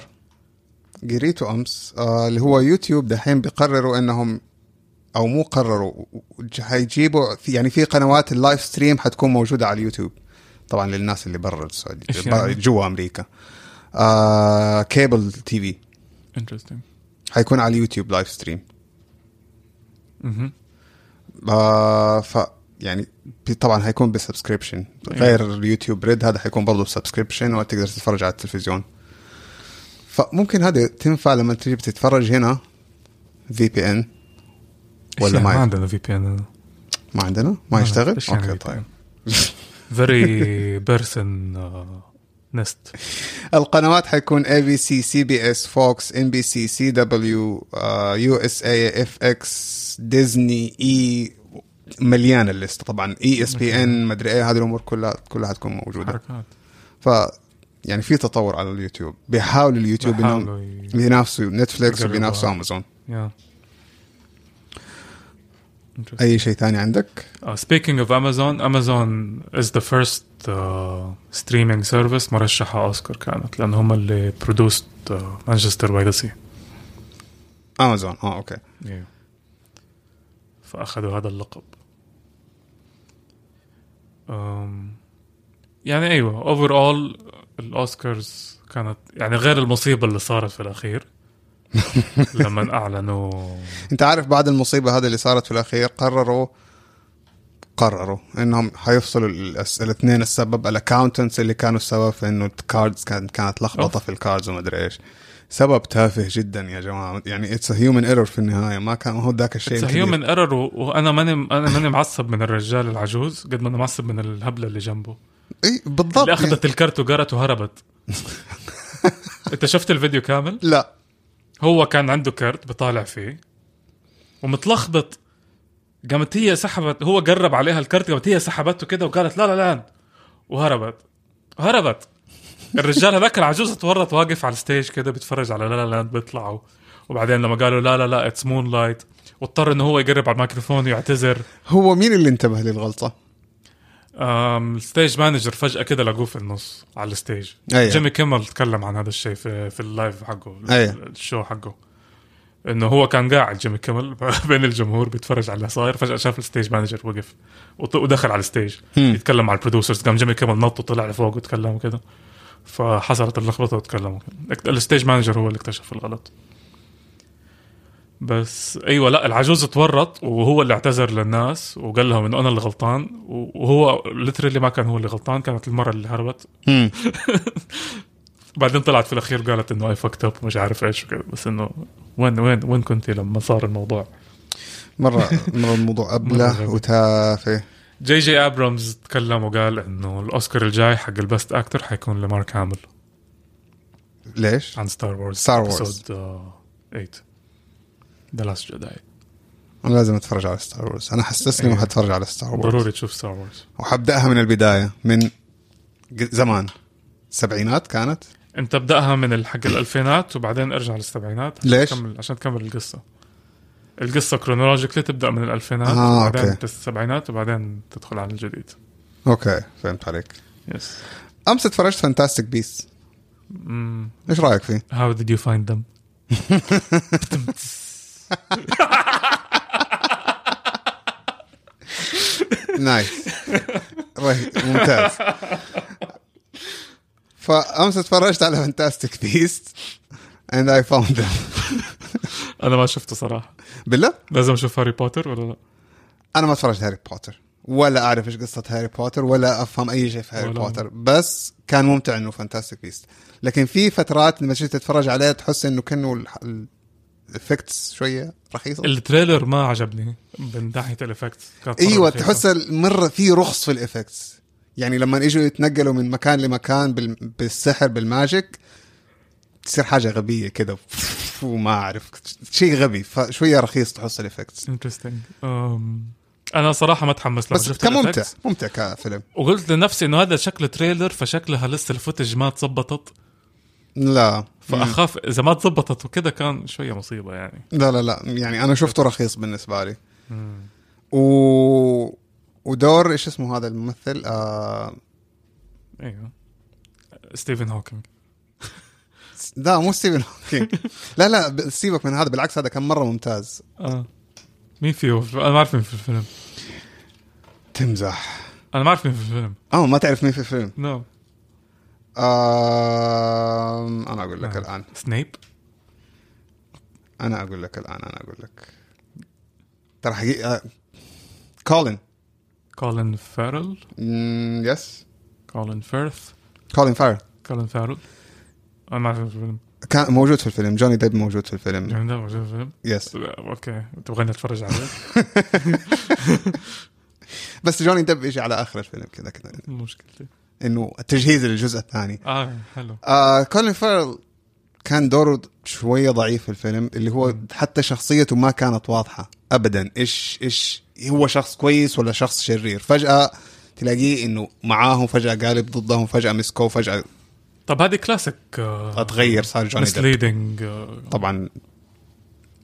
Speaker 1: قريته امس آه اللي هو يوتيوب دحين بيقرروا انهم او مو قرروا و- و- حيجيبوا في- يعني في قنوات اللايف ستريم حتكون موجوده على اليوتيوب طبعا للناس اللي برا السعوديه
Speaker 2: إيش
Speaker 1: برا-
Speaker 2: يعني؟
Speaker 1: جوا امريكا آه كيبل تي في
Speaker 2: انترستنج
Speaker 1: حيكون على اليوتيوب لايف ستريم آه ف يعني بي- طبعا حيكون بسبسكريبشن غير اليوتيوب ريد هذا حيكون برضه بسبسكريبشن وتقدر تتفرج على التلفزيون فممكن هذه تنفع لما تجي بتتفرج هنا في بي ان ولا ما
Speaker 2: ما
Speaker 1: ينفع؟
Speaker 2: عندنا في بي ان
Speaker 1: ما عندنا ما يشتغل اوكي طيب
Speaker 2: فيري بيرسون نست
Speaker 1: القنوات حيكون اي بي سي سي بي اس فوكس ام بي سي سي دبليو يو اس اي اف اكس ديزني اي E، مليان الليست E طبعا اي اس بي ان مدري ايه هذه الامور كلها كلها حتكون موجوده
Speaker 2: حركات
Speaker 1: ف يعني في تطور على اليوتيوب بيحاولوا اليوتيوب
Speaker 2: بيحاولوا
Speaker 1: انهم
Speaker 2: ي-
Speaker 1: بينافسوا نتفليكس
Speaker 2: يقربوها.
Speaker 1: وبينافسوا امازون
Speaker 2: يا
Speaker 1: اي شيء ثاني عندك
Speaker 2: سبيكينج اوف امازون امازون از ذا فيرست uh, ستريمينج سيرفيس مرشحه اوسكار كانت لان هم اللي uh, برودوست مانشستر باي ذا سي
Speaker 1: امازون اه اوكي
Speaker 2: فاخذوا هذا اللقب أم، يعني ايوه اوفر اول الاوسكارز كانت يعني غير المصيبه اللي صارت في الاخير لما اعلنوا
Speaker 1: انت عارف بعد المصيبه هذه اللي صارت في الاخير قرروا قرروا انهم حيفصلوا الأس- الاثنين السبب الاكاونتنتس اللي كانوا السبب في انه الكاردز كانت كانت لخبطه
Speaker 2: أوف.
Speaker 1: في الكاردز وما ادري ايش سبب تافه جدا يا جماعه يعني اتس هيومن ايرور في النهايه ما كان هو ذاك الشيء
Speaker 2: اتس
Speaker 1: الكبير.
Speaker 2: هيومن ايرور وانا ماني انا ماني معصب من الرجال العجوز قد ما انا معصب من الهبله اللي جنبه
Speaker 1: اي بالضبط
Speaker 2: اللي اخذت الكرت وقرت وهربت انت شفت الفيديو كامل
Speaker 1: لا
Speaker 2: هو كان عنده كرت بطالع فيه ومتلخبط قامت هي سحبت هو قرب عليها الكرت قامت هي سحبته كده وقالت لا لا لا وهربت هربت الرجال هذاك العجوز اتورط واقف على الستيج كده بيتفرج على لا لا لاند بيطلعوا وبعدين لما قالوا لا لا لا اتس مون لايت واضطر انه هو يقرب على الميكروفون ويعتذر
Speaker 1: هو مين اللي انتبه للغلطه
Speaker 2: أم، الستيج مانجر فجأة كده لقوه في النص على الستيج
Speaker 1: أيوة.
Speaker 2: جيمي كيمل تكلم عن هذا الشيء في في اللايف حقه
Speaker 1: أيوة.
Speaker 2: الشو حقه انه هو كان قاعد جيمي كيمل بين الجمهور بيتفرج على اللي صاير فجأة شاف الستيج مانجر وقف وط- ودخل على الستيج
Speaker 1: هم.
Speaker 2: يتكلم مع البرودوسرز قام جيمي كيمل نط وطلع لفوق وتكلم وكده فحصلت اللخبطه وتكلموا اكت- الستيج مانجر هو اللي اكتشف الغلط بس ايوه لا العجوز اتورط وهو اللي اعتذر للناس وقال لهم انه انا اللي غلطان و- وهو ليترلي ما كان هو اللي غلطان كانت المره اللي هربت
Speaker 1: هم.
Speaker 2: بعدين طلعت في الاخير قالت انه اي فكت اب مش عارف ايش وكذا بس انه وين وين وين كنتي لما صار الموضوع
Speaker 1: مره مره الموضوع ابله
Speaker 2: غبي.
Speaker 1: وتافه
Speaker 2: جي جي ابرامز تكلم وقال انه الاوسكار الجاي حق البست اكتر حيكون لمارك هامل
Speaker 1: ليش؟
Speaker 2: عن ستار وورز
Speaker 1: Star Wars.
Speaker 2: ايبسود 8 ذا لاست جداي
Speaker 1: انا لازم اتفرج على ستار وورز انا حستسلم
Speaker 2: أيوه.
Speaker 1: وحتفرج على ستار وورز
Speaker 2: ضروري تشوف ستار وورز
Speaker 1: وحبداها من البدايه من ج- زمان السبعينات كانت
Speaker 2: انت ابداها من الحق الالفينات وبعدين ارجع للسبعينات عشان
Speaker 1: ليش؟
Speaker 2: تكمل عشان تكمل القصه القصه كرونولوجيكلي تبدا من الالفينات
Speaker 1: آه،
Speaker 2: وبعدين
Speaker 1: أوكي.
Speaker 2: أوكي. السبعينات وبعدين تدخل على الجديد
Speaker 1: اوكي فهمت عليك
Speaker 2: يس
Speaker 1: امس اتفرجت فانتاستيك بيس ايش رايك فيه؟
Speaker 2: هاو ديد يو فايند ذم
Speaker 1: نايس رهيب ممتاز فامس اتفرجت على فانتاستيك بيس and I found them
Speaker 2: انا ما شفته صراحه
Speaker 1: بالله
Speaker 2: لازم اشوف هاري بوتر ولا لا
Speaker 1: انا ما اتفرجت هاري بوتر ولا اعرف ايش قصه هاري بوتر ولا افهم اي شيء في هاري
Speaker 2: ولا
Speaker 1: بوتر بس كان ممتع انه فانتاستيك بيست لكن في فترات لما تجي تتفرج عليها تحس انه كانه الافكتس شويه رخيصه
Speaker 2: التريلر ما عجبني من ناحيه الافكت كانت مرة
Speaker 1: ايوه
Speaker 2: رخيصة.
Speaker 1: تحس مره في رخص في الافكتس يعني لما اجوا يتنقلوا من مكان لمكان بال... بالسحر بالماجيك تصير حاجه غبيه كده وما اعرف شيء غبي فشويه رخيص تحس الافكتس
Speaker 2: انترستنج انا صراحه ما تحمس لما
Speaker 1: بس
Speaker 2: شفت
Speaker 1: كممتع
Speaker 2: الeffects.
Speaker 1: ممتع كفيلم
Speaker 2: وقلت لنفسي انه هذا شكله تريلر فشكلها لسه الفوتج ما تزبطت
Speaker 1: لا مم.
Speaker 2: فاخاف اذا ما تزبطت وكذا كان شويه مصيبه يعني
Speaker 1: لا لا لا يعني انا شفته رخيص بالنسبه لي و ودور ايش اسمه هذا الممثل آه...
Speaker 2: ايوه ستيفن هوكينج
Speaker 1: لا مو ستيفن هوكينج لا لا ب- سيبك من هذا بالعكس هذا كان مره ممتاز
Speaker 2: آه. مين فيه انا ما اعرف مين في الفيلم
Speaker 1: تمزح
Speaker 2: انا ما اعرف مين في الفيلم
Speaker 1: اه ما تعرف مين في الفيلم
Speaker 2: نو
Speaker 1: آم، انا اقول آه، لك
Speaker 2: نعم.
Speaker 1: الان
Speaker 2: سنيب
Speaker 1: انا اقول لك الان انا اقول لك ترى آه، حقيقه كولين
Speaker 2: كولين فارل
Speaker 1: مم، يس
Speaker 2: كولين فيرث
Speaker 1: كولين فارل
Speaker 2: كولين فارل انا ما اعرف مين في الفيلم
Speaker 1: كان موجود في الفيلم جوني ديب موجود في الفيلم
Speaker 2: يعني ده موجود في الفيلم
Speaker 1: يس
Speaker 2: اوكي تبغاني اتفرج عليه
Speaker 1: بس جوني ديب يجي على اخر الفيلم كذا كذا
Speaker 2: مشكلتي
Speaker 1: انه تجهيز للجزء الثاني
Speaker 2: اه حلو
Speaker 1: آه كولين فارل كان دوره شويه ضعيف في الفيلم اللي هو حتى شخصيته ما كانت واضحه ابدا ايش ايش هو شخص كويس ولا شخص شرير فجاه تلاقيه انه معاهم فجاه قالب ضدهم فجاه مسكوه فجاه
Speaker 2: طب هذه كلاسيك آه،
Speaker 1: اتغير صار جوني ديب
Speaker 2: misleading آه،
Speaker 1: طبعا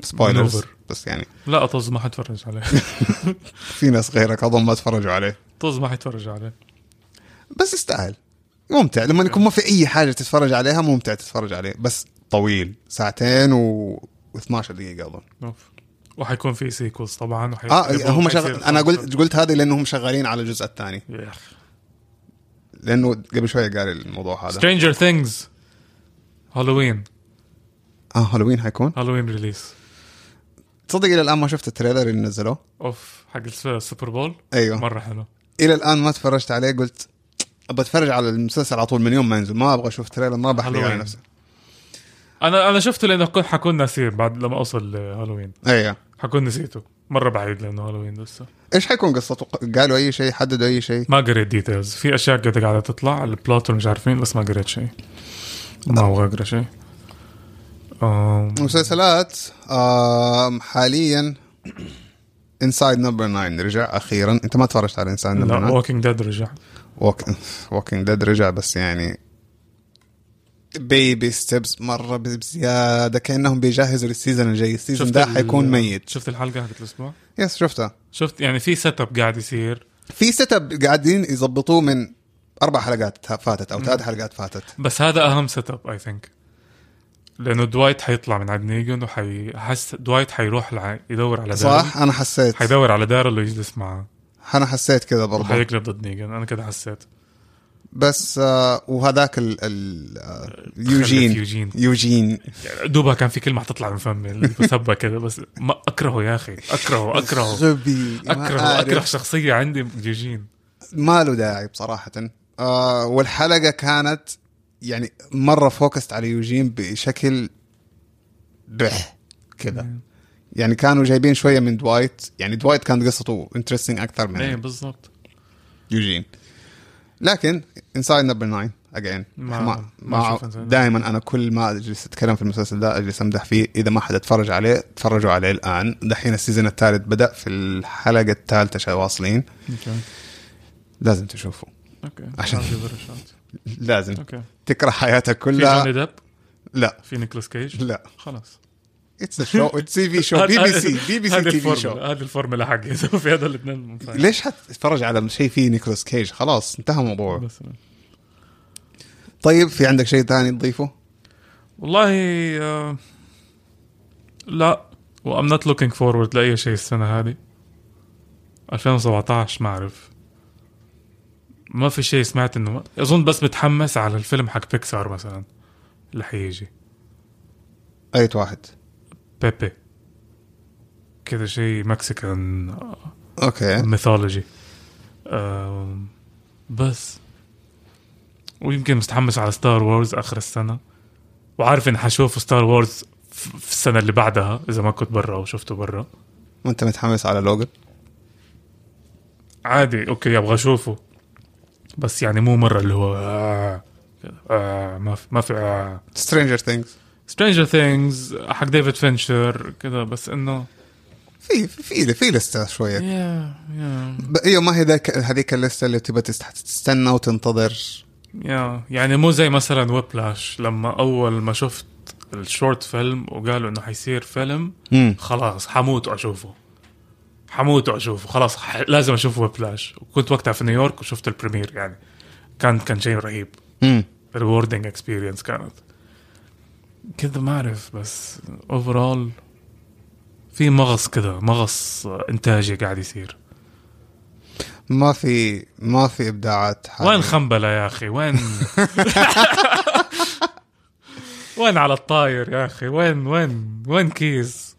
Speaker 1: سبويلرز
Speaker 2: maneuver.
Speaker 1: بس يعني
Speaker 2: لا طز ما حتفرج عليه
Speaker 1: في ناس غيرك اظن ما تفرجوا عليه
Speaker 2: طز ما حيتفرج عليه
Speaker 1: بس يستاهل ممتع لما يكون ما في اي حاجه تتفرج عليها ممتع تتفرج عليه بس طويل ساعتين و و12 دقيقه اظن
Speaker 2: أوف. وحيكون في سيكوز طبعا وحي...
Speaker 1: اه هم شغ... انا قلت قلت هذه لانهم شغالين على الجزء الثاني
Speaker 2: يا اخي
Speaker 1: لانه قبل شويه قاري الموضوع هذا
Speaker 2: سترينجر ثينجز هالوين
Speaker 1: اه هالوين حيكون
Speaker 2: هالوين ريليس
Speaker 1: تصدق الى الان ما شفت التريلر اللي نزلوه
Speaker 2: اوف حق الس- السوبر بول
Speaker 1: ايوه
Speaker 2: مره حلو
Speaker 1: الى الان ما تفرجت عليه قلت ابى اتفرج على المسلسل على طول من يوم ما ينزل ما ابغى اشوف تريلر ما بحرق على
Speaker 2: هالوين.
Speaker 1: نفسي
Speaker 2: انا انا شفته لانه كنت حكون ناسيه بعد لما اوصل لهالوين
Speaker 1: ايوه
Speaker 2: حكون نسيته مره بعيد لانه هالوين لسه
Speaker 1: ايش حيكون قصته؟ قالوا اي شيء حددوا اي شيء
Speaker 2: ما قريت ديتيلز في اشياء قاعده قاعده تطلع البلوت مش عارفين بس ما قريت شيء ما ابغى اقرا شيء أم،
Speaker 1: مسلسلات آم، حاليا انسايد نمبر 9 رجع اخيرا انت ما تفرجت على انسايد نمبر
Speaker 2: لا
Speaker 1: 9
Speaker 2: ووكينج ديد رجع
Speaker 1: ووكينج ديد رجع بس يعني بيبي ستيبس مره بزياده كانهم بيجهزوا للسيزون الجاي السيزون ده
Speaker 2: ال-
Speaker 1: حيكون ميت
Speaker 2: شفت الحلقه حقت الاسبوع
Speaker 1: يس شفتها
Speaker 2: شفت يعني في سيت اب قاعد يصير
Speaker 1: في سيت اب قاعدين يظبطوه من اربع حلقات فاتت او ثلاث حلقات فاتت
Speaker 2: بس هذا اهم سيت اب اي ثينك لانه دوايت حيطلع من عند نيجن وحي حس دوايت حيروح لع... يدور على دارل
Speaker 1: صح انا حسيت
Speaker 2: حيدور على دارل ويجلس معاه
Speaker 1: انا حسيت كذا برضه
Speaker 2: وحيقلب ضد نيجن انا كده حسيت
Speaker 1: بس آه، وهذاك ال ال آه، يوجين
Speaker 2: يوجين
Speaker 1: يوجين
Speaker 2: دوبها كان في كلمه حتطلع من فمي المسبه كذا بس ما اكرهه يا اخي اكرهه اكرهه
Speaker 1: غبي ما
Speaker 2: اكرهه
Speaker 1: أعرف.
Speaker 2: اكره شخصيه عندي يوجين
Speaker 1: ما له داعي بصراحه آه والحلقه كانت يعني مره فوكست على يوجين بشكل بح كذا
Speaker 2: نعم.
Speaker 1: يعني كانوا جايبين شويه من دوايت يعني دوايت كانت قصته انترستنج اكثر
Speaker 2: ايه
Speaker 1: من
Speaker 2: بالضبط
Speaker 1: يوجين لكن انسايد نمبر 9 اجين
Speaker 2: ما-
Speaker 1: ما,
Speaker 2: ما
Speaker 1: ما
Speaker 2: أشوف Inside Number
Speaker 1: دائما انا كل ما اجلس اتكلم في المسلسل ده اجلس امدح فيه اذا ما حد اتفرج عليه تفرجوا عليه الان دحين السيزون الثالث بدا في الحلقه الثالثه شا- واصلين
Speaker 2: اوكي
Speaker 1: لازم تشوفوا
Speaker 2: اوكي
Speaker 1: عشان-
Speaker 2: اوكي
Speaker 1: لازم تكره حياتك
Speaker 2: في
Speaker 1: كلها
Speaker 2: جوني ديب
Speaker 1: لا
Speaker 2: في نيكولاس كيج
Speaker 1: لا
Speaker 2: خلاص
Speaker 1: اتس شو اتس تي في شو بي بي سي بي بي سي
Speaker 2: هذه
Speaker 1: تي في
Speaker 2: الفورمولا-
Speaker 1: شو
Speaker 2: هذه الفورمولا حقي في هذا الاثنين
Speaker 1: ليش حتتفرج على شيء فيه نيكولاس كيج خلاص انتهى الموضوع
Speaker 2: مثلا
Speaker 1: طيب في عندك شيء ثاني تضيفه
Speaker 2: والله آه، لا وام نوت لوكينج فورورد لاي شيء السنه هذه 2017 ما اعرف ما في شيء سمعت انه اظن بس متحمس على الفيلم حق بيكسار مثلا اللي حيجي
Speaker 1: اي واحد
Speaker 2: بيبي كذا شيء مكسيكان
Speaker 1: اوكي
Speaker 2: ميثولوجي بس ويمكن مستحمس على ستار وورز اخر السنه وعارف اني حشوف ستار وورز في السنه اللي بعدها اذا ما كنت برا او شفته برا
Speaker 1: وانت متحمس على لوجن
Speaker 2: عادي اوكي ابغى اشوفه بس يعني مو مره اللي هو آه كده، آه ما في ما في آه
Speaker 1: سترينجر ثينجز
Speaker 2: سترينجر ثينجز حق ديفيد فينشر كذا بس انه
Speaker 1: في في في لسته شويه
Speaker 2: يا يا
Speaker 1: ب- ايوه ما هي ذاك هذيك اللسته اللي تبى تست- تستنى وتنتظر
Speaker 2: يا يعني مو زي مثلا ويبلاش لما اول ما شفت الشورت فيلم وقالوا انه حيصير فيلم
Speaker 1: امم
Speaker 2: خلاص حموت واشوفه حموت واشوفه خلاص ح... لازم اشوف ويبلاش وكنت وقتها في نيويورك وشفت البريمير يعني كان كان شيء رهيب
Speaker 1: امم
Speaker 2: ريوردنج اكسبيرينس كانت كذا ما اعرف بس اوفرول في مغص كذا مغص انتاجي قاعد يصير
Speaker 1: ما في ما في ابداعات حالياً.
Speaker 2: وين خنبلة يا أخي وين وين على الطاير يا أخي وين وين وين كيس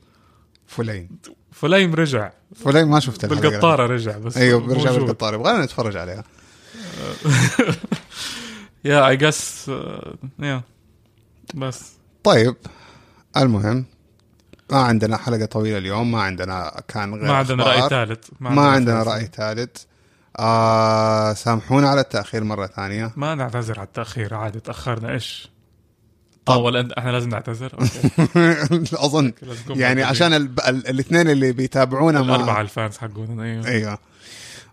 Speaker 1: فلين
Speaker 2: فليم رجع
Speaker 1: فلين ما شفت الحلقة.
Speaker 2: بالقطارة رجع بس
Speaker 1: ايوه برجع
Speaker 2: موجود.
Speaker 1: بالقطار يبغانا نتفرج عليها
Speaker 2: يا اي جس يا uh, بس
Speaker 1: طيب المهم ما عندنا حلقة طويلة اليوم ما عندنا كان غير
Speaker 2: ما عندنا
Speaker 1: أخبار.
Speaker 2: رأي ثالث
Speaker 1: ما عندنا
Speaker 2: ثالث.
Speaker 1: رأي ثالث آه سامحونا على التأخير مرة ثانية
Speaker 2: ما نعتذر على التأخير عادي تأخرنا إيش طول أنت احنا لازم نعتذر أوكي.
Speaker 1: أظن
Speaker 2: لازم نكون
Speaker 1: يعني
Speaker 2: معتذرين.
Speaker 1: عشان ال... ال... الاثنين اللي بيتابعونا
Speaker 2: الأربعة
Speaker 1: ما
Speaker 2: الفانز حقونا أيوه
Speaker 1: ايوه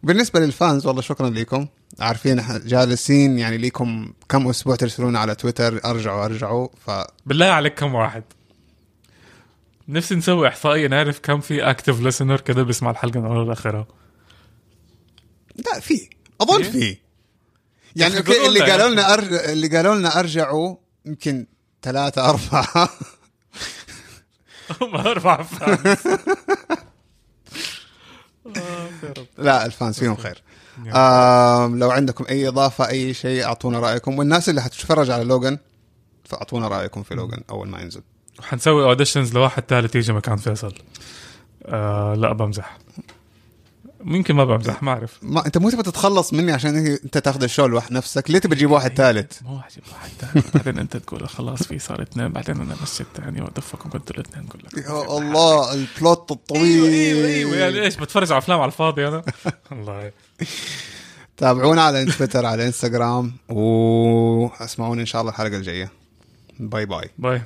Speaker 1: بالنسبة للفانز والله شكرا لكم عارفين إح- جالسين يعني لكم كم اسبوع ترسلونا على تويتر ارجعوا ارجعوا ف
Speaker 2: بالله عليك كم واحد نفسي نسوي احصائيه نعرف كم في اكتف ليسنر كده بيسمع الحلقه من اولها لاخرها
Speaker 1: لا في اظن
Speaker 2: إيه؟
Speaker 1: في يعني
Speaker 2: أخي
Speaker 1: اوكي
Speaker 2: قولوا
Speaker 1: اللي
Speaker 2: لنا
Speaker 1: قالوا
Speaker 2: يا
Speaker 1: لنا أرج... اللي قالوا لنا ارجعوا يمكن ثلاثة أربعة
Speaker 2: ما ارفع فانز
Speaker 1: لا الفانس فيهم خير آم لو عندكم أي إضافة أي شيء أعطونا رأيكم والناس اللي حتتفرج على لوغان فأعطونا رأيكم في لوغان أول ما ينزل
Speaker 2: حنسوي اوديشنز لواحد ثالث يجي مكان فيصل آه لا بمزح ممكن ما بمزح ما اعرف
Speaker 1: ما أنت مو تبي تتخلص مني عشان أنت تاخذ الشو لوحد نفسك ليه تبي تجيب واحد ثالث
Speaker 2: ما هو عجيب واحد ثالث بعدين انت تقول خلاص في صار اثنين بعدين انا بس يعني الثاني وادفكم كنتوا الاثنين كلكم
Speaker 1: يا الله البلوت
Speaker 2: ايوه ايوه ايوه
Speaker 1: الطويل
Speaker 2: يعني ايش بتفرج على افلام على الفاضي انا والله
Speaker 1: تابعونا على تويتر على انستغرام واسمعونا ان شاء الله الحلقه الجايه باي باي
Speaker 2: باي